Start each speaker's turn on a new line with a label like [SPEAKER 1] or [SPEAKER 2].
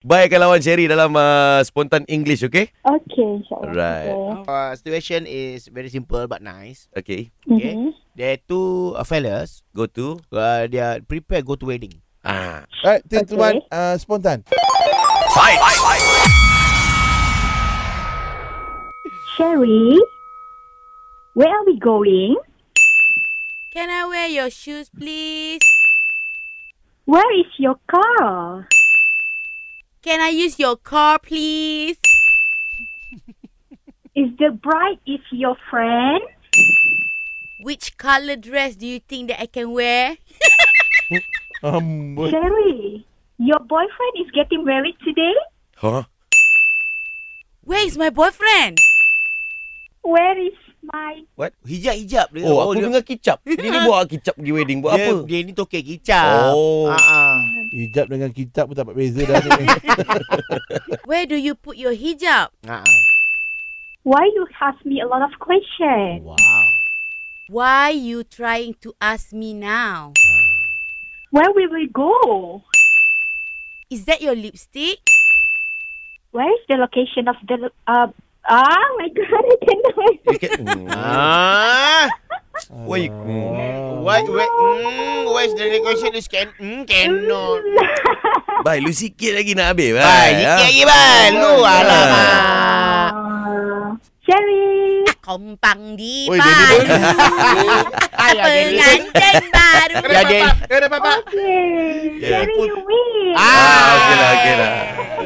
[SPEAKER 1] Baik akan lawan Sherry dalam uh, spontan English, okay?
[SPEAKER 2] Okay, insyaAllah.
[SPEAKER 1] Right.
[SPEAKER 3] Uh, situation is very simple but nice.
[SPEAKER 1] Okay.
[SPEAKER 3] Okay.
[SPEAKER 2] Mm-hmm.
[SPEAKER 3] There are two uh, fellas.
[SPEAKER 1] Go to
[SPEAKER 3] Uh, they are prepare go to wedding.
[SPEAKER 1] ah.
[SPEAKER 4] Alright, three, two, one. Uh, spontan.
[SPEAKER 2] Sherry, where are we going?
[SPEAKER 5] Can I wear your shoes, please?
[SPEAKER 2] Where is your car?
[SPEAKER 5] Can I use your car, please?
[SPEAKER 2] Is the bride is your friend?
[SPEAKER 5] Which color dress do you think that I can wear?
[SPEAKER 4] Um,
[SPEAKER 2] Sherry, your boyfriend is getting married today?
[SPEAKER 1] Huh?
[SPEAKER 5] Where is my boyfriend?
[SPEAKER 2] Where is my...
[SPEAKER 3] Hijab hijab dia.
[SPEAKER 1] Oh, aku
[SPEAKER 3] dia,
[SPEAKER 1] dengar kicap. Dia ni buat kicap pergi wedding. Buat
[SPEAKER 3] dia,
[SPEAKER 1] apa?
[SPEAKER 3] Dia ni tokek hijab.
[SPEAKER 1] Oh.
[SPEAKER 3] Ah, ah.
[SPEAKER 4] hijab dengan kitab pun tak dapat beza dah ni.
[SPEAKER 5] Where do you put your hijab?
[SPEAKER 3] Ah, ah.
[SPEAKER 2] Why you ask me a lot of questions?
[SPEAKER 3] Wow.
[SPEAKER 5] Why you trying to ask me now?
[SPEAKER 2] Where will we go?
[SPEAKER 5] Is that your lipstick?
[SPEAKER 2] Where is the location of the... lo- Uh, ah, my God, I cannot...
[SPEAKER 1] You can,
[SPEAKER 3] Ah.
[SPEAKER 1] why you, hmm.
[SPEAKER 3] What? Where, mm, where's the question is can? Mm, cannot.
[SPEAKER 1] Bye, lu sikit lagi nak habis. ah." Bye.
[SPEAKER 3] Bye. Sikit lagi bye. Lu alamak.
[SPEAKER 2] Ah, Sherry,
[SPEAKER 5] Kompang di
[SPEAKER 1] Oi, dia ni
[SPEAKER 5] baru.
[SPEAKER 3] Ayah, dia ni.
[SPEAKER 5] Pengantin baru.
[SPEAKER 3] Ada. Ada apa?
[SPEAKER 2] okay.
[SPEAKER 1] Yeah.
[SPEAKER 2] Sherry, you win.
[SPEAKER 3] Ah.
[SPEAKER 1] Ah, okey lah, okey lah.